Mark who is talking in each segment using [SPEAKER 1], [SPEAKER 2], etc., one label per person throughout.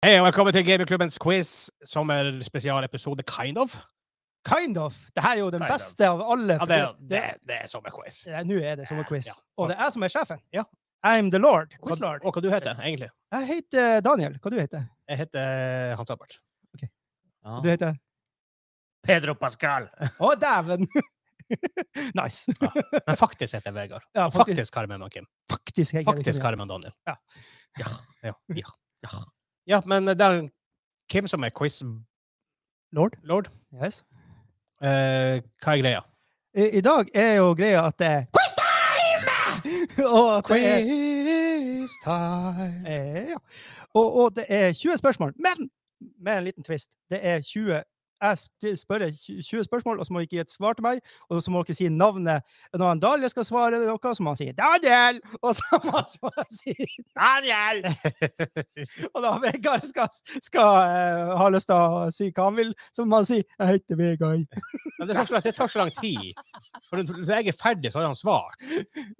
[SPEAKER 1] Hei og velkommen til Gamingklubbens quiz, sommerspesialepisode, kind of.
[SPEAKER 2] Kind of. Det her er jo den
[SPEAKER 1] Kind of.
[SPEAKER 2] beste av alle.
[SPEAKER 1] Ja,
[SPEAKER 2] fordi
[SPEAKER 1] det,
[SPEAKER 2] at
[SPEAKER 1] det, det er sommerquiz.
[SPEAKER 2] det- Nå er det sommerquiz.
[SPEAKER 1] Ja.
[SPEAKER 2] Og det er jeg som er sjefen.
[SPEAKER 1] Ja.
[SPEAKER 2] I'm the lord.
[SPEAKER 1] Hva-
[SPEAKER 2] Quizlord.
[SPEAKER 1] Og hva du heter du egentlig?
[SPEAKER 2] Jeg heter eh, Daniel. Hva du heter
[SPEAKER 1] Jeg heter eh, Hans Albert.
[SPEAKER 2] du? heter?
[SPEAKER 1] Pedro Pascal.
[SPEAKER 2] Å, dæven! nice.
[SPEAKER 1] Men faktisk heter jeg Vegard.
[SPEAKER 2] Ja,
[SPEAKER 1] Og
[SPEAKER 2] faktisk,
[SPEAKER 1] faktisk Carmen og Kim.
[SPEAKER 2] faktisk, heter jeg ikke
[SPEAKER 1] Faktisk
[SPEAKER 2] det.
[SPEAKER 1] Carmen Daniel.
[SPEAKER 2] Ja.
[SPEAKER 1] Ja, ja, ja. ja. ja men det er Kim som er eh, quiz-lord.
[SPEAKER 2] Lord. Yes.
[SPEAKER 1] Eh, hva er greia?
[SPEAKER 2] I, I dag er jo greia at det er quiz time! og, at det er,
[SPEAKER 1] Quiz time.
[SPEAKER 2] eh, ja. og, og det er 20 spørsmål. Men med en liten twist. Det er 20 jeg sp- spør deg 20 spørsmål, og så må dere gi et svar til meg. Og så må dere si navnet. Når han Daniel skal svare noe, så må han si 'Daniel'! Og så må han si
[SPEAKER 1] Daniel!
[SPEAKER 2] Og da Vegard skal, skal eh, ha lyst til å si hva han vil, så må han si 'Jeg heter Vegard'.
[SPEAKER 1] Men det tar ikke lang- det tar ikke så lang tid. For når jeg er ferdig, så har han svar.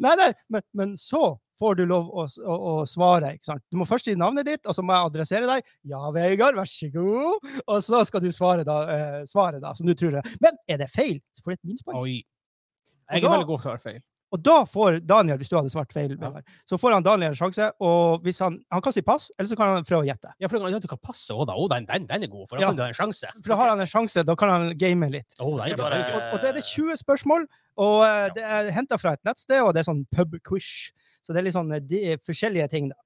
[SPEAKER 2] Nei, nei, men, men så får du lov å, s- å, å svare. ikke sant? Du må først si navnet ditt, og så må jeg adressere deg. 'Ja, Vegard, vær så god.' Og så skal du svare, da, eh, svaret da, som du tror det er. Men er det feil, så får du et minuspoeng.
[SPEAKER 1] Oi.
[SPEAKER 2] Og
[SPEAKER 1] Jeg er
[SPEAKER 2] da-
[SPEAKER 1] veldig god for å svare feil.
[SPEAKER 2] Og da får Daniel, hvis du hadde svart feil, Vegard, så får han Daniel en sjanse. Og hvis han, han kan si pass, eller så kan han prøve å gjette.
[SPEAKER 1] Ja, for du kan passe Oda. Oda, den, den er god, for da
[SPEAKER 2] Ja.
[SPEAKER 1] kan du ha en sjanse.
[SPEAKER 2] For da har han en sjanse, da kan han game litt.
[SPEAKER 1] Å, den er
[SPEAKER 3] Så
[SPEAKER 1] god, den er god.
[SPEAKER 2] Og, og det er det 20 spørsmål, og eh,
[SPEAKER 3] Ja.
[SPEAKER 2] det er henta fra et nettsted, og det er sånn pubquish. Så det er litt sånn eh, de, forskjellige ting. da.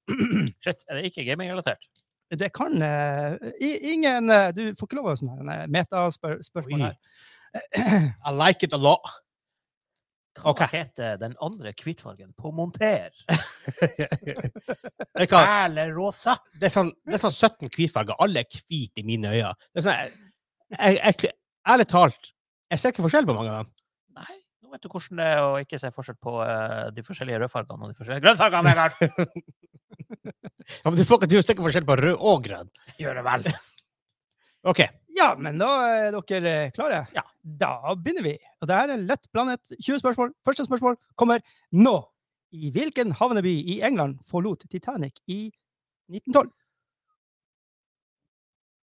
[SPEAKER 3] Shit, er det ikke gaming-relatert?
[SPEAKER 2] Det kan eh, i, Ingen eh, Du får ikke lov å ha sånne her metaspørsmål
[SPEAKER 1] Oi.
[SPEAKER 2] her.
[SPEAKER 1] I like it a lot.
[SPEAKER 3] Hva
[SPEAKER 1] Ok.
[SPEAKER 3] heter den andre hvitfargen på monter?
[SPEAKER 1] Det, kan,
[SPEAKER 3] Perlerosa!
[SPEAKER 1] det, er sånn, det er sånn 17 hvitfarger. Alle er hvite i mine øyne. Det er sånn, jeg, jeg, jeg, ærlig talt, jeg ser ikke forskjell på mange av dem.
[SPEAKER 3] Nei, nå vet du hvordan det er å ikke se forskjell på eh, de forskjellige rødfargene og de forskjellige grønnfargene, Vegard!
[SPEAKER 1] Ja, men du, får, ikke- du ser ikke forskjell på rød og grønn.
[SPEAKER 3] Gjør det vel!
[SPEAKER 1] OK.
[SPEAKER 2] Ja, men da er dere eh, klare?
[SPEAKER 3] Ja.
[SPEAKER 2] Da begynner vi. Og det her er lett blandet. 20 spørsmål. Første spørsmål kommer nå. I hvilken havneby i England forlot Titanic i 1912?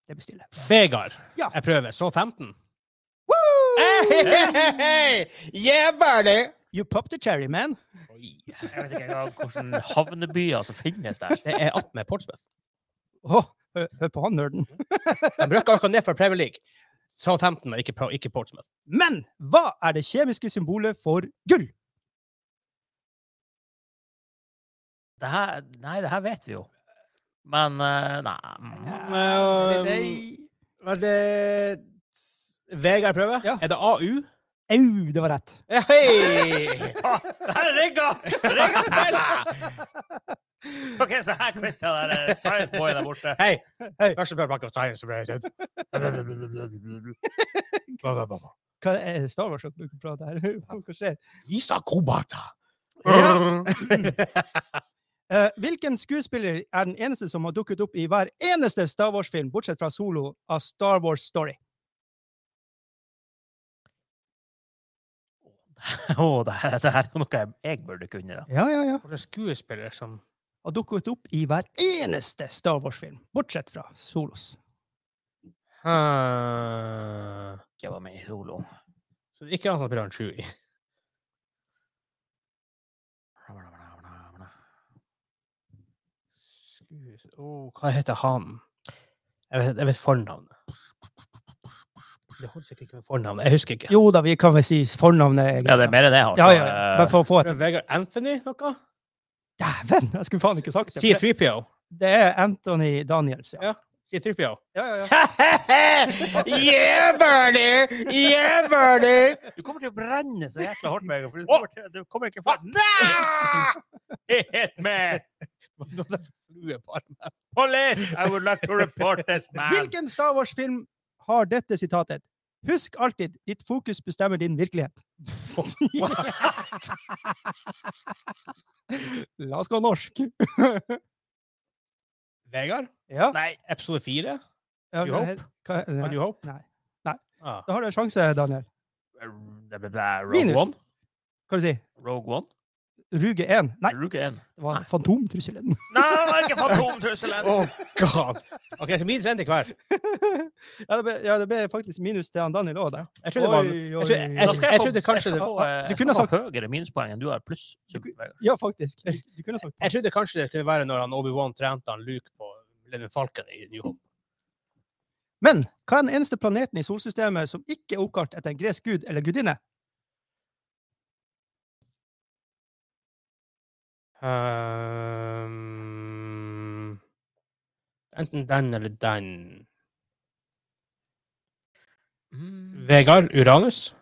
[SPEAKER 2] Det blir stille.
[SPEAKER 1] Vegard,
[SPEAKER 2] Ja.
[SPEAKER 1] jeg prøver. Så 15.
[SPEAKER 3] Yeah, buddy!
[SPEAKER 2] You popped the cherry, man.
[SPEAKER 1] Oi.
[SPEAKER 3] Jeg vet ikke engang hvilke havnebyer som finnes der.
[SPEAKER 1] Det er 18 med Portsmouth.
[SPEAKER 2] Åh, hør, hør på han nerden.
[SPEAKER 1] De røkker akkurat ned fra Premier League. Så 15, men ikke, Pro- ikke Portsmouth.
[SPEAKER 2] Men hva er det kjemiske symbolet for gull?
[SPEAKER 3] Det her, nei, det her vet vi jo. Men eh, nei
[SPEAKER 1] Men, Var det Vegard prøver?
[SPEAKER 2] Ja.
[SPEAKER 1] Er det AU?
[SPEAKER 2] Au, det var rett.
[SPEAKER 1] Ja, Hei!
[SPEAKER 3] Det her er rigga! Rigga spill! OK, så her quiz til den der science boy der borte.
[SPEAKER 1] Hei!
[SPEAKER 2] Hei.
[SPEAKER 1] Første prøvepakke av Science Related.
[SPEAKER 2] Hva er det Star Wars at du prater her? Hva skjer?
[SPEAKER 1] Lisa Kobata!
[SPEAKER 2] Ja. Eh, hvilken skuespiller er den eneste som har dukket opp i hver eneste Star Wars-film, bortsett fra solo av Star Wars Story?
[SPEAKER 3] Å, det, her, det her er noe jeg, jeg burde kunne. Da.
[SPEAKER 2] Ja, ja, ja.
[SPEAKER 1] For en skuespiller som
[SPEAKER 2] Har dukket opp i hver eneste Star Wars-film, bortsett fra solos.
[SPEAKER 1] Ah.
[SPEAKER 3] Ikke var med i solo.
[SPEAKER 1] Så det er ikke han som spiller han Chewie. Skues... Åh, hva heter han? Jeg vet, jeg vet fornavnet. Det holder sikkert ikke med fornavnet. Jeg husker ikke.
[SPEAKER 2] Jo da, vi kan vel si fornavnet.
[SPEAKER 3] Ja, det er mer enn det, altså.
[SPEAKER 2] Ja, ja, bare for å få et
[SPEAKER 1] Vegard Anthony noe?
[SPEAKER 2] Dæven! Jeg skulle faen ikke sagt det. for det-
[SPEAKER 1] C3PO.
[SPEAKER 2] Det er Anthony Daniels, ja.
[SPEAKER 1] Ja. C3PO.
[SPEAKER 2] Ja, ja, ja.
[SPEAKER 3] yeah, Bernie! Yeah, Bernie! Du kommer til å brenne så jækla hardt, Vegard. For du, kommer til, du kommer ikke fra Hit me!
[SPEAKER 1] Flue på armen.
[SPEAKER 3] Police! I would like to report this man!
[SPEAKER 2] Hvilken Star Wars-film har dette sitatet? Husk alltid, ditt fokus bestemmer din virkelighet. La oss gå norsk.
[SPEAKER 1] Vegard,
[SPEAKER 2] Ja.
[SPEAKER 3] Nei,
[SPEAKER 1] episode fire.
[SPEAKER 2] ja,
[SPEAKER 1] You
[SPEAKER 2] men-
[SPEAKER 1] hope?
[SPEAKER 2] hva-
[SPEAKER 1] Har
[SPEAKER 2] nei.
[SPEAKER 1] du håp?
[SPEAKER 2] Nei.
[SPEAKER 1] Ah.
[SPEAKER 2] Da har du en sjanse, Daniel.
[SPEAKER 3] eh, det ble- det er Rogue
[SPEAKER 2] Minus.
[SPEAKER 3] One.
[SPEAKER 2] Hva du si?
[SPEAKER 3] Rogue One.
[SPEAKER 2] Ruge 1. Nei,
[SPEAKER 3] Ruge 1.
[SPEAKER 2] det var
[SPEAKER 1] Nei.
[SPEAKER 2] Fantomtrusselen.
[SPEAKER 3] Nei, det var ikke Fantomtrusselen!
[SPEAKER 1] Oh, god. OK, så minus én til hver.
[SPEAKER 2] ja, det ble, ja, det ble faktisk minus til han Daniel òg, der.
[SPEAKER 1] Jeg trodde det var
[SPEAKER 2] Oi,
[SPEAKER 1] jeg tror-
[SPEAKER 2] oi,
[SPEAKER 1] jeg
[SPEAKER 3] Da
[SPEAKER 2] oi.
[SPEAKER 3] skal
[SPEAKER 1] jeg
[SPEAKER 3] få-
[SPEAKER 1] trodde kanskje
[SPEAKER 3] jeg
[SPEAKER 1] det
[SPEAKER 3] skal få, eh,
[SPEAKER 2] Du
[SPEAKER 3] jeg
[SPEAKER 2] kunne
[SPEAKER 3] skal
[SPEAKER 2] sagt-
[SPEAKER 3] få høyere minuspoeng enn du har, pluss superpoeng.
[SPEAKER 2] Ja, faktisk. Du, du kunne sagt
[SPEAKER 1] Jeg trodde kanskje det skulle være når han Obi-Wan trente han Luke på Millennium Falcon i New Hope.
[SPEAKER 2] Men hva er den eneste planeten i solsystemet som ikke er oppkalt etter en gresk gud eller gudinne?
[SPEAKER 1] Ehm, enten den eller den.
[SPEAKER 3] Mm.
[SPEAKER 1] Vegard Uranus?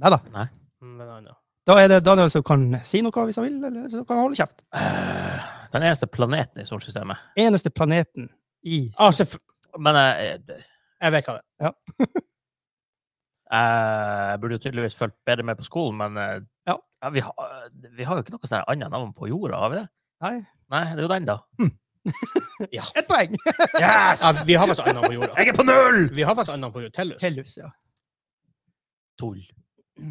[SPEAKER 2] Nei da.
[SPEAKER 1] Mm, Den andre.
[SPEAKER 2] Da er det Daniel som kan si noe hvis han vil, eller så kan han holde kjeft.
[SPEAKER 3] Eh, Den eneste planeten i solsystemet.
[SPEAKER 2] Eneste planeten i
[SPEAKER 1] Ah, selvfø-
[SPEAKER 3] Men eh, det-
[SPEAKER 1] jeg vet hva det er.
[SPEAKER 3] jeg burde jo tydeligvis fulgt bedre med på skolen, men eh,
[SPEAKER 2] Ja.
[SPEAKER 3] vi, har, eh, vi har jo ikke noe sånn annet navn på jorda, har vi det?
[SPEAKER 2] Nei,
[SPEAKER 3] Nei, det er jo den, da.
[SPEAKER 2] ett poeng!
[SPEAKER 3] Yes!
[SPEAKER 1] Ja, vi har faktisk annet på jorda.
[SPEAKER 3] Jeg er på null!
[SPEAKER 1] Vi har faktisk annet på jorda. Tellus.
[SPEAKER 2] Tellus, ja.
[SPEAKER 3] Tull.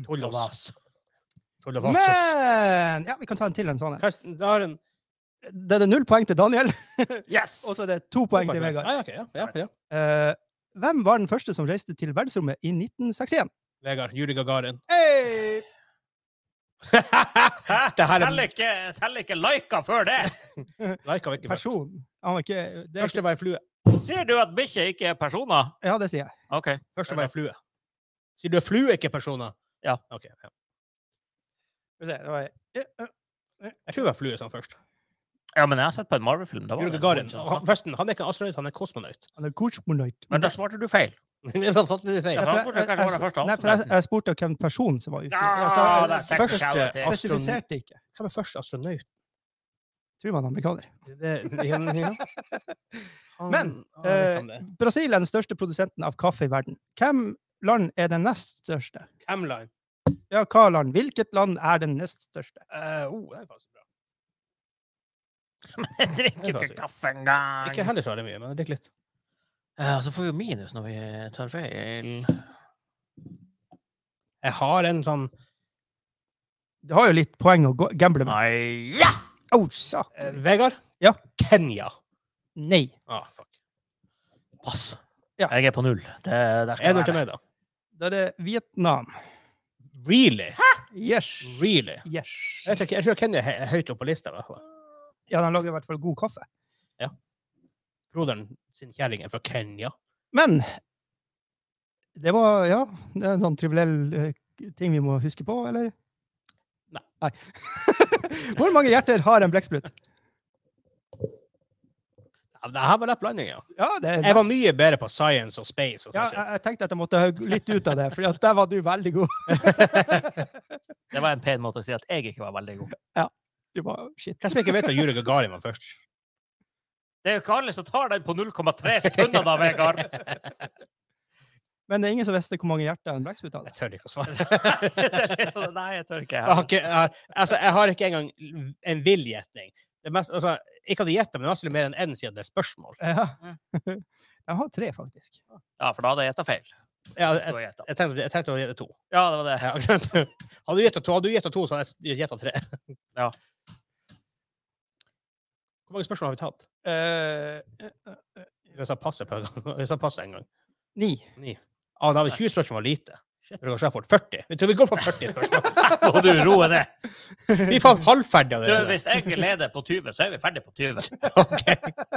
[SPEAKER 1] Tull og vas. Tull og vas.
[SPEAKER 2] Men ja, vi kan ta en til en sånn en.
[SPEAKER 1] Karsten, da har en
[SPEAKER 2] Det er det null poeng til Daniel,
[SPEAKER 3] Yes!
[SPEAKER 2] og så er det to poeng til Vegard.
[SPEAKER 1] Ah, ja, ok, ja, ja, ja.
[SPEAKER 2] Eh, hvem var den første som reiste til verdensrommet i 1961?
[SPEAKER 1] Vegard, Yuri Gagarin.
[SPEAKER 2] Hey!
[SPEAKER 3] Hæ?
[SPEAKER 1] Det her er-
[SPEAKER 3] Teller ikke, teller ikke lika før det!
[SPEAKER 1] Like var ikke først.
[SPEAKER 2] Person. Han var ikke, det er,
[SPEAKER 1] Første var ei flue.
[SPEAKER 3] Ser du at bikkjer ikke er personer?
[SPEAKER 2] ja, det sier jeg.
[SPEAKER 3] OK.
[SPEAKER 1] Første var ei flue. Sier du er flue, ikke personer?
[SPEAKER 3] Ja.
[SPEAKER 1] Ok, ja.
[SPEAKER 2] Skal vi se, det var- eh, eh,
[SPEAKER 1] Jeg tror det var flue som først.
[SPEAKER 3] Ja, men jeg har sett på en Marvel-film. da var
[SPEAKER 1] Yuri
[SPEAKER 3] det en
[SPEAKER 1] Gagarin.
[SPEAKER 3] hund som
[SPEAKER 1] Han,
[SPEAKER 3] satt.
[SPEAKER 1] forresten, han er ikke astronaut, han er kosmonaut.
[SPEAKER 2] Han er kosmonaut.
[SPEAKER 3] Men der svarte du feil.
[SPEAKER 1] Da satte du feil.
[SPEAKER 3] Ja, for han burde kanskje være den første
[SPEAKER 2] Nei, for jeg,
[SPEAKER 3] astronauten.
[SPEAKER 2] jeg spurte hvem personen som var ute.
[SPEAKER 3] Ah,
[SPEAKER 2] Jeg sa-
[SPEAKER 3] det er
[SPEAKER 1] Første
[SPEAKER 3] technicality.
[SPEAKER 1] astron-
[SPEAKER 2] spesifiserte ikke.
[SPEAKER 1] Hvem er første astronaut?
[SPEAKER 2] Tror man er amerikaner.
[SPEAKER 1] Det- det- ja, ja. Han-
[SPEAKER 2] Men,
[SPEAKER 1] han vet han
[SPEAKER 2] eh,
[SPEAKER 1] det.
[SPEAKER 2] Brasil er den største produsenten av kaffe i verden. Hvem land er den nest største?
[SPEAKER 1] Camline.
[SPEAKER 2] Ja, hva land? Hvilket land er den nest største?
[SPEAKER 1] Eh, oh, det er faktisk bra.
[SPEAKER 3] Jeg drikker jo ikke kaffe engang!
[SPEAKER 1] Ikke heller så veldig mye, men jeg drikker litt.
[SPEAKER 3] Ja, så får vi jo minus når vi tar feil.
[SPEAKER 1] Jeg har en sånn
[SPEAKER 2] Du har jo litt poeng å gå- gamble med.
[SPEAKER 3] Nei, ja!
[SPEAKER 2] Au, sak.
[SPEAKER 1] eh, Vegard?
[SPEAKER 2] Ja.
[SPEAKER 1] Kenya.
[SPEAKER 2] Nei.
[SPEAKER 1] Ah, fuck.
[SPEAKER 3] Pass.
[SPEAKER 2] Ja.
[SPEAKER 3] Jeg er på null. Det, der skal
[SPEAKER 1] Er du
[SPEAKER 3] jeg
[SPEAKER 1] til
[SPEAKER 3] være.
[SPEAKER 1] meg, da?
[SPEAKER 2] Da er det Vietnam.
[SPEAKER 1] Really?
[SPEAKER 2] Yes.
[SPEAKER 1] Really?
[SPEAKER 2] Yes.
[SPEAKER 1] Jeg, tror ikke- jeg tror Kenya er hø- høyt oppe på lista. i hvert fall.
[SPEAKER 2] Ja, de lager i hvert fall god kaffe.
[SPEAKER 1] Broderen sin kjerring er fra Kenya.
[SPEAKER 2] Men det var Ja, det er en sånn triviell eh, ting vi må huske på, eller?
[SPEAKER 1] Nei.
[SPEAKER 2] Nei. Hvor mange hjerter har en blekksprut?
[SPEAKER 1] Ja, det her var lett blanding, ja.
[SPEAKER 2] Ja, det er
[SPEAKER 1] Jeg var mye bedre på science og space. og
[SPEAKER 2] ja,
[SPEAKER 1] sånn
[SPEAKER 3] eh,
[SPEAKER 2] jeg,
[SPEAKER 1] shit.
[SPEAKER 2] jeg tenkte at jeg måtte hø- litt ut av det, for der var du veldig god.
[SPEAKER 3] Det var en pen måte å si at jeg ikke var veldig god.
[SPEAKER 2] Du var shit.
[SPEAKER 1] Hvem som ikke vet at Yuri Gagarin var først?
[SPEAKER 3] Det er jo ikke alle som tar den på 0,3 sekunder, da, Vegard!
[SPEAKER 2] Men det er ingen som visste hvor mange hjerter en blekksprut
[SPEAKER 1] Jeg
[SPEAKER 2] hadde.
[SPEAKER 1] tør ikke å svare.
[SPEAKER 3] Så Nei, jeg tør ikke.
[SPEAKER 1] Jeg har ikke, jeg, altså, jeg har ikke engang en vill gjetning. Det mest- Altså, ikke at jeg gjetter, men det er mer enn én siden det er spørsmål.
[SPEAKER 2] Ja. Jeg har tre, faktisk.
[SPEAKER 3] Ja, for da hadde jeg gjetta feil.
[SPEAKER 1] Ja,
[SPEAKER 3] Hvis du
[SPEAKER 1] jeg,
[SPEAKER 3] hadde gjettet.
[SPEAKER 1] jeg, tenkte, jeg tenkte å gjette to.
[SPEAKER 3] Ja, det var det.
[SPEAKER 1] Ja, ikke sant? Hadde du gjettet to, hadde du gjettet to, så hadde jeg gjetta tre.
[SPEAKER 3] Ja.
[SPEAKER 1] Hvor mange spørsmål har vi tatt?
[SPEAKER 2] Eh,
[SPEAKER 1] Jeg sa passe på en gang. Jeg sa passe en gang.
[SPEAKER 2] Ni.
[SPEAKER 1] Ah, da har vi 20 spørsmål lite. Jeg tror kanskje jeg har fått 40. Jeg tror vi går for 40 spørsmål.
[SPEAKER 3] Må du roe ned.
[SPEAKER 1] Vi er faen halvferdige
[SPEAKER 3] Du,
[SPEAKER 1] allerede.
[SPEAKER 3] hvis jeg leder på 20, så er vi ferdig på 20.
[SPEAKER 1] Ok.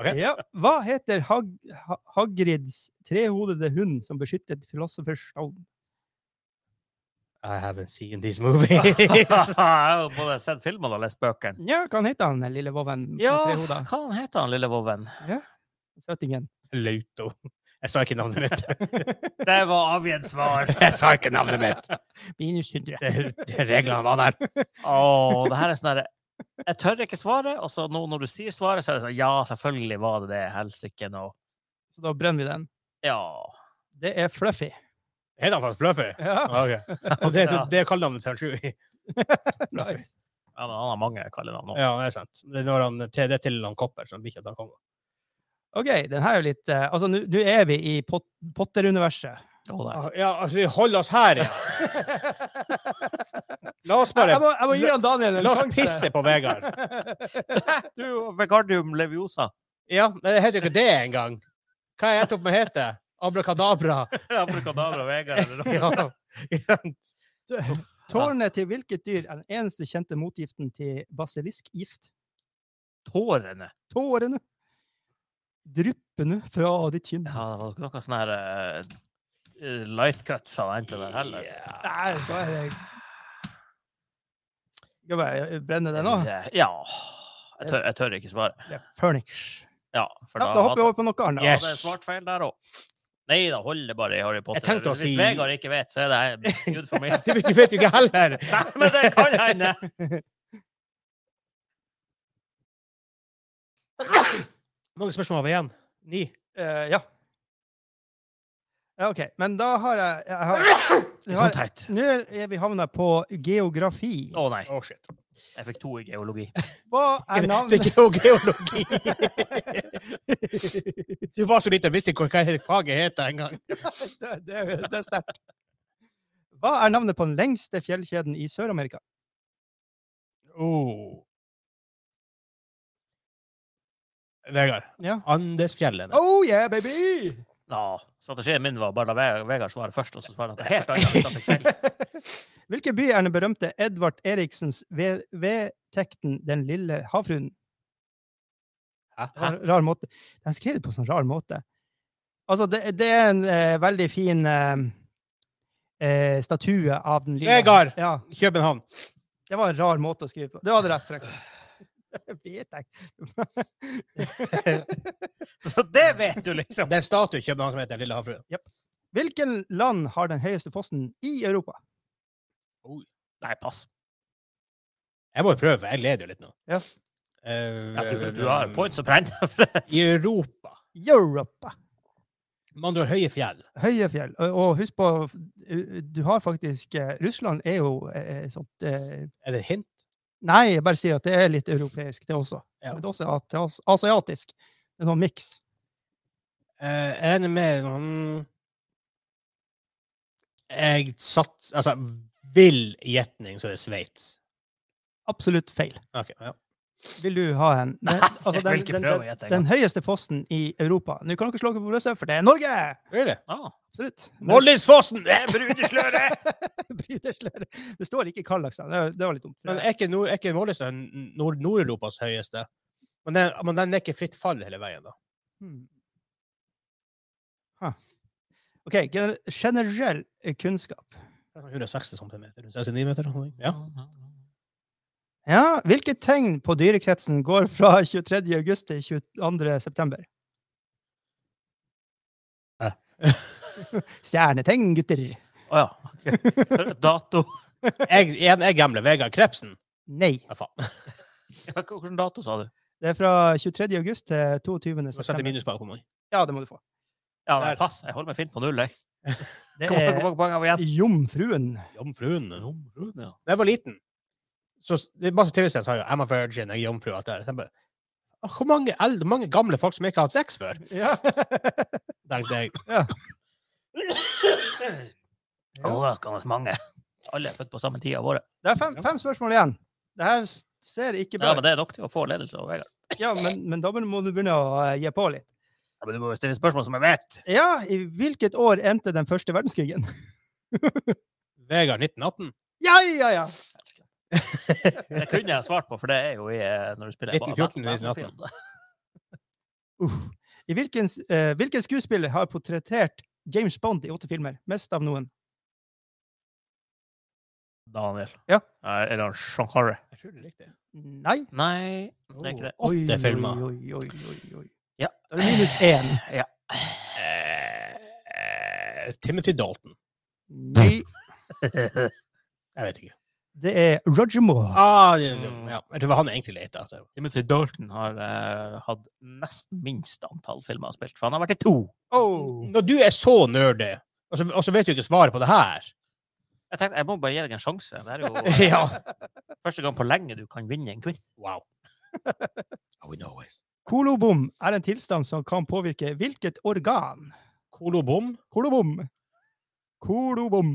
[SPEAKER 1] Ok.
[SPEAKER 2] Ja. Hva heter Hag Ha- Hagrids trehodede hund som beskyttet Philosophers Stone?
[SPEAKER 1] I haven't seen these movies.
[SPEAKER 3] jeg har jo både sett filmene og lest bøkene.
[SPEAKER 2] Ja, hva han heter han, den lille voven med
[SPEAKER 3] Ja,
[SPEAKER 2] tre
[SPEAKER 3] hva
[SPEAKER 2] hoder?
[SPEAKER 3] han heter han, lille voven?
[SPEAKER 2] Søtingen.
[SPEAKER 1] Lauto. Jeg sa ikke navnet mitt.
[SPEAKER 3] Det var avgitt svar.
[SPEAKER 1] Jeg sa ikke navnet mitt.
[SPEAKER 2] Minus 100.
[SPEAKER 1] Det, det reglene var der.
[SPEAKER 3] Å, det her er sånn herre Jeg tør ikke svare, og så nå når du sier svaret, så er det sånn Ja, selvfølgelig var det det. Helsike, nå.
[SPEAKER 2] Så da brenner vi den.
[SPEAKER 3] Ja.
[SPEAKER 2] Det er Fluffy.
[SPEAKER 1] Heter han faktisk Fluffy?
[SPEAKER 2] Ja,
[SPEAKER 1] Ok. Og det,
[SPEAKER 3] Ja.
[SPEAKER 1] det er kallenavnet til Shui. Fluffy.
[SPEAKER 2] nice.
[SPEAKER 3] Ja, men Han har mange kallenavn nå.
[SPEAKER 1] Ja, det er sant. Det er når han til det er til han Kopper, så han blir ikke at han kommer.
[SPEAKER 2] OK, den her er jo litt eh, Altså, nå nå er vi i pot Potter-universet.
[SPEAKER 3] Å, der.
[SPEAKER 1] Ja, altså, vi holder oss her, ja. La oss
[SPEAKER 2] Jeg
[SPEAKER 1] bare
[SPEAKER 2] må, jeg må gi han Daniel en
[SPEAKER 1] La oss
[SPEAKER 2] sjanse.
[SPEAKER 1] pisse på Vegard.
[SPEAKER 3] Du, Vegardium leviosa.
[SPEAKER 1] Ja, det heter jo ikke det engang. Hva jeg endte opp med å hete? Abrakadabra.
[SPEAKER 3] Abracadabra Vegard eller noe.
[SPEAKER 1] Ja.
[SPEAKER 2] Tårnet til hvilket dyr er den eneste kjente motgiften til basiliskgift?
[SPEAKER 3] Tårene.
[SPEAKER 2] Tårene. Dryppene fra ditt kinn.
[SPEAKER 3] Ja, det var ikke noen sånne her eh, light cuts av den til der heller.
[SPEAKER 2] Nei, da er det
[SPEAKER 3] Ah.
[SPEAKER 2] Skal bare brenne den òg.
[SPEAKER 3] Eh, Ja. Jeg tør, jeg tør ikke svare.
[SPEAKER 2] Furnish.
[SPEAKER 3] Ja, for
[SPEAKER 2] Ja,
[SPEAKER 3] da,
[SPEAKER 2] da hopper vi
[SPEAKER 3] hadde-
[SPEAKER 2] over på noe annet.
[SPEAKER 3] Ja,
[SPEAKER 1] Yes.
[SPEAKER 3] det er svart feil der òg. Nei da, hold det bare i Harry Potter.
[SPEAKER 1] Jeg tenkte å
[SPEAKER 3] Hvis
[SPEAKER 1] si-
[SPEAKER 3] Vegard ikke vet, så er det good for meg.
[SPEAKER 1] Du vet du vet jo ikke heller!
[SPEAKER 3] Nei, men det kan hende!
[SPEAKER 1] Mange spørsmål har vi igjen. Ni.
[SPEAKER 2] Eh, ja. ja. OK. Men da har jeg, jeg har, jeg
[SPEAKER 3] Sånn
[SPEAKER 2] har,
[SPEAKER 3] teit.
[SPEAKER 2] Nå er vi havna på geografi.
[SPEAKER 3] Å nei,
[SPEAKER 1] Å, Oh, shit.
[SPEAKER 3] jeg fikk to i geologi.
[SPEAKER 2] Hva er
[SPEAKER 1] Det
[SPEAKER 2] navnet
[SPEAKER 1] er jo geologi! Du var så liten, jeg visste ikke hva faget het engang.
[SPEAKER 2] Det, det, det er sterkt. Hva er navnet på den lengste fjellkjeden i Sør-Amerika?
[SPEAKER 1] Oh. Vegard.
[SPEAKER 2] Ja.
[SPEAKER 1] Andesfjellene.
[SPEAKER 2] Oh yeah, baby!
[SPEAKER 3] Ja, strategien min var bare la Ve- Vegard svare først, og så svare noe helt annet. hvis han fikk feil.
[SPEAKER 2] Hvilken by er den berømte Edvard Eriksens ve- vedtekten Den lille havfruen? Rar, rar måte. De har skrevet det på en sånn rar måte. Altså, det, det er en eh, veldig fin eh, eh, statue av den lille
[SPEAKER 1] Vegard!
[SPEAKER 2] Ja,
[SPEAKER 1] København.
[SPEAKER 2] det var en rar måte å skrive på. Det hadde rett, for eksempel. Vedtekt.
[SPEAKER 3] Så det vet du, liksom!
[SPEAKER 1] Det er en statue i København som heter Lille havfrue.
[SPEAKER 2] Hvilken land har den høyeste posten i Europa?
[SPEAKER 3] Nei, pass.
[SPEAKER 1] Jeg må jo prøve, jeg leder jo litt nå.
[SPEAKER 2] Ja.
[SPEAKER 1] Eh,
[SPEAKER 3] Ja, du, du har points å brenne.
[SPEAKER 1] I Europa.
[SPEAKER 2] Europa.
[SPEAKER 1] Med andre ord høye fjell.
[SPEAKER 2] Høye fjell. Og, og husk på, du har faktisk eh, Russland er jo eh, sånt eh,
[SPEAKER 1] Er det et hint?
[SPEAKER 2] Nei, jeg bare sier at det er litt europeisk, det også.
[SPEAKER 1] Ja.
[SPEAKER 2] Men det er også at- as- asiatisk. En sånn miks.
[SPEAKER 1] Eh, jeg regner med sånn Jeg sats... Altså, vill gjetning, så er det Sveits.
[SPEAKER 2] Absolutt feil.
[SPEAKER 1] Ok, ja.
[SPEAKER 2] Vil du ha en Nei, altså,
[SPEAKER 3] jeg vil
[SPEAKER 2] den,
[SPEAKER 3] ikke
[SPEAKER 2] den,
[SPEAKER 3] prøve å
[SPEAKER 2] den,
[SPEAKER 3] gjette engang.
[SPEAKER 2] den høyeste posten i Europa. Nå kan dere slå dere på brystet, for det er Norge!
[SPEAKER 1] Really?
[SPEAKER 3] Ah,
[SPEAKER 2] Absolutt. Men det-
[SPEAKER 1] Moldisfossen!
[SPEAKER 3] det er brudesløret!
[SPEAKER 2] Bryterslør. Det står ikke Kallaksand. Det, var- det var litt dumt.
[SPEAKER 1] Men er ikke, nord, er ikke Moldisfossen nord, Nord-Europas høyeste? Men den, men den er ikke fritt fall hele veien, da.
[SPEAKER 2] Hmm. Huh. OK. gen- Generell eh, kunnskap.
[SPEAKER 1] 160 centimeter, 69 meter? sånn. Ja.
[SPEAKER 2] Ja, hvilke tegn på dyrekretsen går fra 23. august til 22. september?
[SPEAKER 1] Hæ?
[SPEAKER 2] Stjernetegn, gutter.
[SPEAKER 3] Å ja. ok. Dato
[SPEAKER 1] Jeg, igjen, jeg gambler. Vegard Krepsen.
[SPEAKER 2] Nei.
[SPEAKER 1] Ja, faen.
[SPEAKER 3] Ja, hva- Hvilken dato sa du?
[SPEAKER 2] Det er fra 23. august til 22.
[SPEAKER 1] Du må sette
[SPEAKER 2] september.
[SPEAKER 1] minus på hvor mange.
[SPEAKER 2] Ja, det må du få.
[SPEAKER 3] Ja, nei, pass. Jeg holder meg fint på null, jeg.
[SPEAKER 2] Det
[SPEAKER 3] Hvor mange- hvor
[SPEAKER 2] er
[SPEAKER 3] mange poeng har vi igjen?
[SPEAKER 2] Jomfruen.
[SPEAKER 1] Jomfruen. Da
[SPEAKER 3] Jomfruen, ja.
[SPEAKER 1] jeg var liten, så s- det er masse TV-serier som sa jo, I'm a virgin, jeg er jomfru. alt det der. Jeg bare, «Å, Hvor mange, eldre, mange gamle folk som ikke har hatt sex før?
[SPEAKER 2] Ja.
[SPEAKER 1] tenkte jeg.
[SPEAKER 3] Overraskende mange. Alle er født på samme tid av året.
[SPEAKER 2] Det er fem, fem spørsmål igjen. Det her s- ser ikke
[SPEAKER 3] Ja,
[SPEAKER 2] bra
[SPEAKER 3] men
[SPEAKER 2] ut.
[SPEAKER 3] Det er nok til å få ledelse over Vegard.
[SPEAKER 2] Ja, men, men da må du begynne å eh, gi på litt.
[SPEAKER 3] Ja, men du må jo stille spørsmål som jeg vet.
[SPEAKER 2] Ja, i hvilket år endte den første verdenskrigen?
[SPEAKER 1] Vegard 1918.
[SPEAKER 2] Ja, ja, ja!
[SPEAKER 3] Det kunne jeg svart på, for det er jo i eh, når du spiller
[SPEAKER 1] 1914,
[SPEAKER 3] på-
[SPEAKER 1] 1918.
[SPEAKER 2] Uff. I hvilken, s- eh, hvilken skuespiller har portrettert James Bond i åtte filmer? Mest av noen.
[SPEAKER 3] Daniel.
[SPEAKER 2] Ja.
[SPEAKER 3] Nei, Eller Sean Carrey.
[SPEAKER 1] Jeg tror det er riktig.
[SPEAKER 2] Nei.
[SPEAKER 3] Nei, det er ikke det.
[SPEAKER 2] Oi,
[SPEAKER 1] Åtte
[SPEAKER 2] oi,
[SPEAKER 1] filmer.
[SPEAKER 2] Oi, oi, oi, oi.
[SPEAKER 3] Ja.
[SPEAKER 2] Da er det minus én.
[SPEAKER 1] Eh, Timothy Dalton.
[SPEAKER 2] Nei.
[SPEAKER 1] Jeg vet ikke.
[SPEAKER 2] Det er Roger Moore.
[SPEAKER 1] Ah, det, det,
[SPEAKER 3] Mm.
[SPEAKER 1] ja. Jeg tror det var han jeg egentlig lette etter.
[SPEAKER 3] Timothy Dalton har eh, hatt nest minst antall filmer han har spilt, for han har vært i to.
[SPEAKER 2] Oh.
[SPEAKER 1] Når du er så nerdy, og så, og så vet du ikke svaret på det her
[SPEAKER 3] Jeg tenkte, jeg må bare gi deg en sjanse. Det er jo eh,
[SPEAKER 1] Ja.
[SPEAKER 3] første gang på lenge du kan vinne en quiz.
[SPEAKER 1] Wow. Oh, we know always.
[SPEAKER 2] Kolobom er en tilstand som kan påvirke hvilket organ?
[SPEAKER 1] Kolobom.
[SPEAKER 2] Kolobom. Kolobom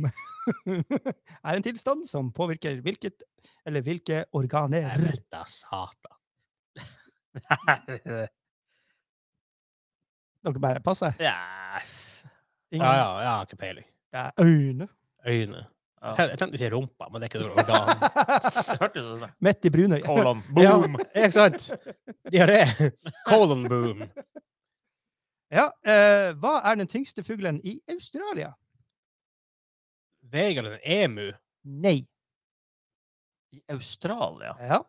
[SPEAKER 2] er en tilstand som påvirker hvilket eller hvilke organer
[SPEAKER 1] Nei, da satan.
[SPEAKER 2] Dere bare passer.
[SPEAKER 3] ja.
[SPEAKER 1] Ja, ja, jeg har ikke peiling.
[SPEAKER 2] Ja, Øyne.
[SPEAKER 1] Øyne.
[SPEAKER 3] Ja.
[SPEAKER 1] Jeg tenkte å si rumpa, men det er ikke noe organ.
[SPEAKER 3] Hørtes ut som det.
[SPEAKER 2] Midt i brunøyet.
[SPEAKER 3] Kolon.
[SPEAKER 1] Ja,
[SPEAKER 3] Boom!
[SPEAKER 1] ikke sant? Diaré. Colon boom.
[SPEAKER 2] Ja, eh, hva er den tyngste fuglen i Australia?
[SPEAKER 1] Vegard en emu.
[SPEAKER 2] Nei.
[SPEAKER 3] I Australia?
[SPEAKER 2] Ja.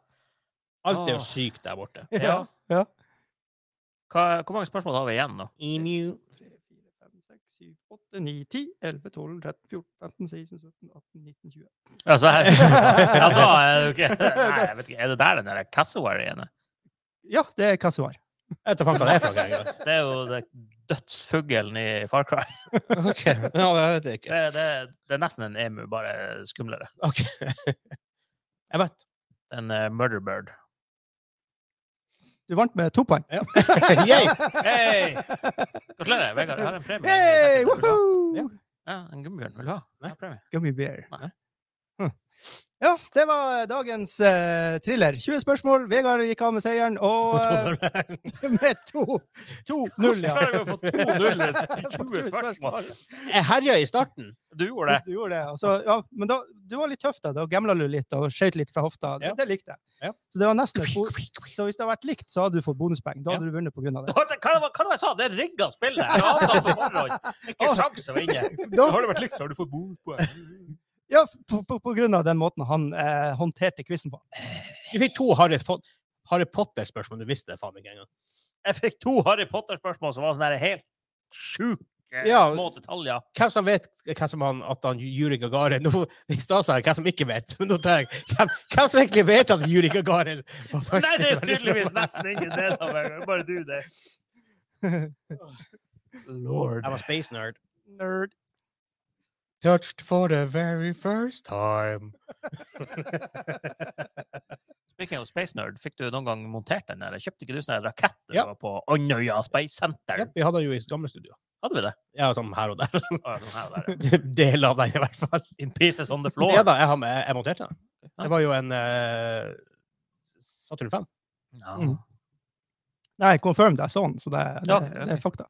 [SPEAKER 1] Alt er jo
[SPEAKER 3] Åh.
[SPEAKER 1] sykt der borte.
[SPEAKER 3] Ja.
[SPEAKER 2] Ja.
[SPEAKER 3] Hva, hvor mange spørsmål har vi igjen nå?
[SPEAKER 1] Emu.
[SPEAKER 2] 3, 4, 5, 6, 7, 8, 9, 10, 11, 12, 13, 14, 15, 16, 17, 18, 19, 20.
[SPEAKER 3] Ja, så her. ja da er det jo ikke Nei, jeg vet ikke. Er det der den der cassowaryene?
[SPEAKER 2] Ja, det er hva som var.
[SPEAKER 1] Jeg vet da faen hva det er for noe engang.
[SPEAKER 3] Det er jo det dødsfuglen i Far Cry.
[SPEAKER 1] Okay. Ja, det vet jeg ikke.
[SPEAKER 3] Det, det, det er nesten en emu, bare skumlere.
[SPEAKER 1] Ok. Jeg vet.
[SPEAKER 3] En eh, murderbird.
[SPEAKER 2] Du vant med to poeng.
[SPEAKER 1] Yay!
[SPEAKER 3] Hei! Gratulerer, Vegard. Jeg har en premie.
[SPEAKER 2] Hey,
[SPEAKER 3] Vil
[SPEAKER 1] Ja.
[SPEAKER 3] du ha?
[SPEAKER 2] woohoo!
[SPEAKER 3] Ja, en gummibjørn vil du ha. Jeg har premie.
[SPEAKER 2] Gummy bear.
[SPEAKER 3] Nei.
[SPEAKER 2] Hm. Ja, det var dagens eh, thriller. 20 spørsmål. Vegard gikk av med seieren, og eh, med to- 2-0, ja.
[SPEAKER 3] Hvorfor har vi fått 2-0 etter 20 spørsmål?
[SPEAKER 1] Jeg herja i starten.
[SPEAKER 3] Du gjorde det.
[SPEAKER 2] Du gjorde det. Altså, ja, men da, du var litt tøff, da. Da gamla du litt og skøyt litt fra hofta.
[SPEAKER 1] Ja.
[SPEAKER 2] Det, det likte jeg.
[SPEAKER 1] Ja.
[SPEAKER 2] Så det var nesten et bo Så hvis det hadde vært likt, så hadde du fått bonuspoeng. Da hadde du vunnet på grunn av det.
[SPEAKER 3] Hva hva var hva var det jeg sa? Det er rigga spill der. Jeg avtalte på forhånd. Ikke sjans å vinne.
[SPEAKER 2] Da,
[SPEAKER 3] Har det vært likt, så har du fått bonuspoeng.
[SPEAKER 2] ja, på, på, på grunn av den måten han eh, håndterte quizen på.
[SPEAKER 1] Du fikk to Harry, Pot Harry Potter-spørsmål. Du visste det faen ikke engang.
[SPEAKER 3] Jeg fikk to Harry Potter-spørsmål som var sånn her helt sjuke
[SPEAKER 1] Ja.
[SPEAKER 3] små detaljer.
[SPEAKER 1] Hvem som vet hvem som han, at han Yuri Gagarin Nå i stad sa jeg hvem som ikke vet, men nå tar jeg hvem, hvem som egentlig vet at Yuri Gagarin var første
[SPEAKER 3] Nei, det er
[SPEAKER 1] menneske-
[SPEAKER 3] tydeligvis nesten ingen del av det. Bare du, det. Lord.
[SPEAKER 1] Jeg var space nerd.
[SPEAKER 2] Nerd.
[SPEAKER 1] Touched for the very first time.
[SPEAKER 3] Speaking of space nerd, fikk du noen gang montert den? Eller kjøpte ikke du sånn her rakett du
[SPEAKER 1] Ja.
[SPEAKER 3] var på Andøya Space Center?
[SPEAKER 1] Ja, vi hadde han jo i gamle studio.
[SPEAKER 3] Hadde vi det?
[SPEAKER 1] Ja, sånn her og der.
[SPEAKER 3] Å, sånn her, der.
[SPEAKER 1] Del av den, i hvert fall.
[SPEAKER 3] In pieces on the floor.
[SPEAKER 1] Ja da, jeg, har med, jeg monterte den.
[SPEAKER 3] Ja.
[SPEAKER 1] Det var jo en eh, Saturn 5.
[SPEAKER 3] Ja.
[SPEAKER 2] Mm. Nei, confirm det er sånn, så det, det,
[SPEAKER 3] Ja, ok, ok.
[SPEAKER 2] det er fakta.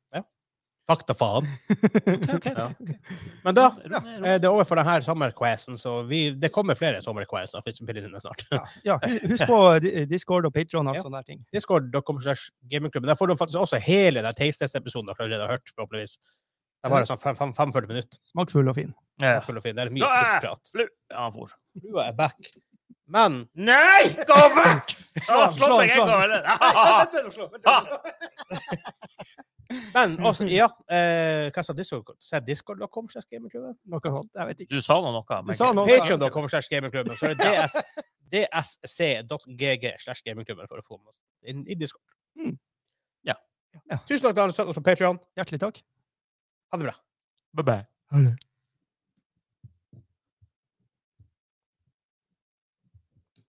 [SPEAKER 1] Fakta faen.
[SPEAKER 3] Ok, ok.
[SPEAKER 1] Ja.
[SPEAKER 3] ok.
[SPEAKER 1] Men da
[SPEAKER 3] Ro ned, ro
[SPEAKER 1] eh, det er over for denne sommerquizen, så vi, det kommer flere sommerquizer hvis vi spiller inn den snart.
[SPEAKER 2] Ja, ja, hu- husk på di- Discord og Patron og alt
[SPEAKER 1] Ja.
[SPEAKER 2] sånne der ting.
[SPEAKER 1] Discord.com slash gamingklubben. Der får du faktisk også hele den tastetest-episoden dere allerede har hørt, forhåpentligvis. Det var sånn fem- fem- 45 minutter.
[SPEAKER 2] Smakfull og fin.
[SPEAKER 3] ned. Ja.
[SPEAKER 1] Full og fin. Det er mye
[SPEAKER 3] Ja.
[SPEAKER 1] pissprat.
[SPEAKER 3] Flu. Ja, han for.
[SPEAKER 1] Flua er back. Men
[SPEAKER 3] Nei! Gå vekk! Slå
[SPEAKER 2] han, slå han,
[SPEAKER 3] meg
[SPEAKER 2] slå
[SPEAKER 3] en gang, eller?
[SPEAKER 1] Men også, ja eh, Hva sa Discord? Sa jeg Discord.com slash gamingklubben?
[SPEAKER 2] Noe sånt. Jeg vet ikke.
[SPEAKER 3] Du sa nå noe. men-
[SPEAKER 2] Du sa noe.
[SPEAKER 1] Patreon.com slags gamingklubben. Så er det DS, dsc.gg slags gamingklubben for å få med oss inn i Discord.
[SPEAKER 2] Mm.
[SPEAKER 1] Ja.
[SPEAKER 2] Ja.
[SPEAKER 1] Tusen takk for at du støtter oss på Patreon.
[SPEAKER 2] Hjertelig takk.
[SPEAKER 1] Ha det bra.
[SPEAKER 3] Bye-bye.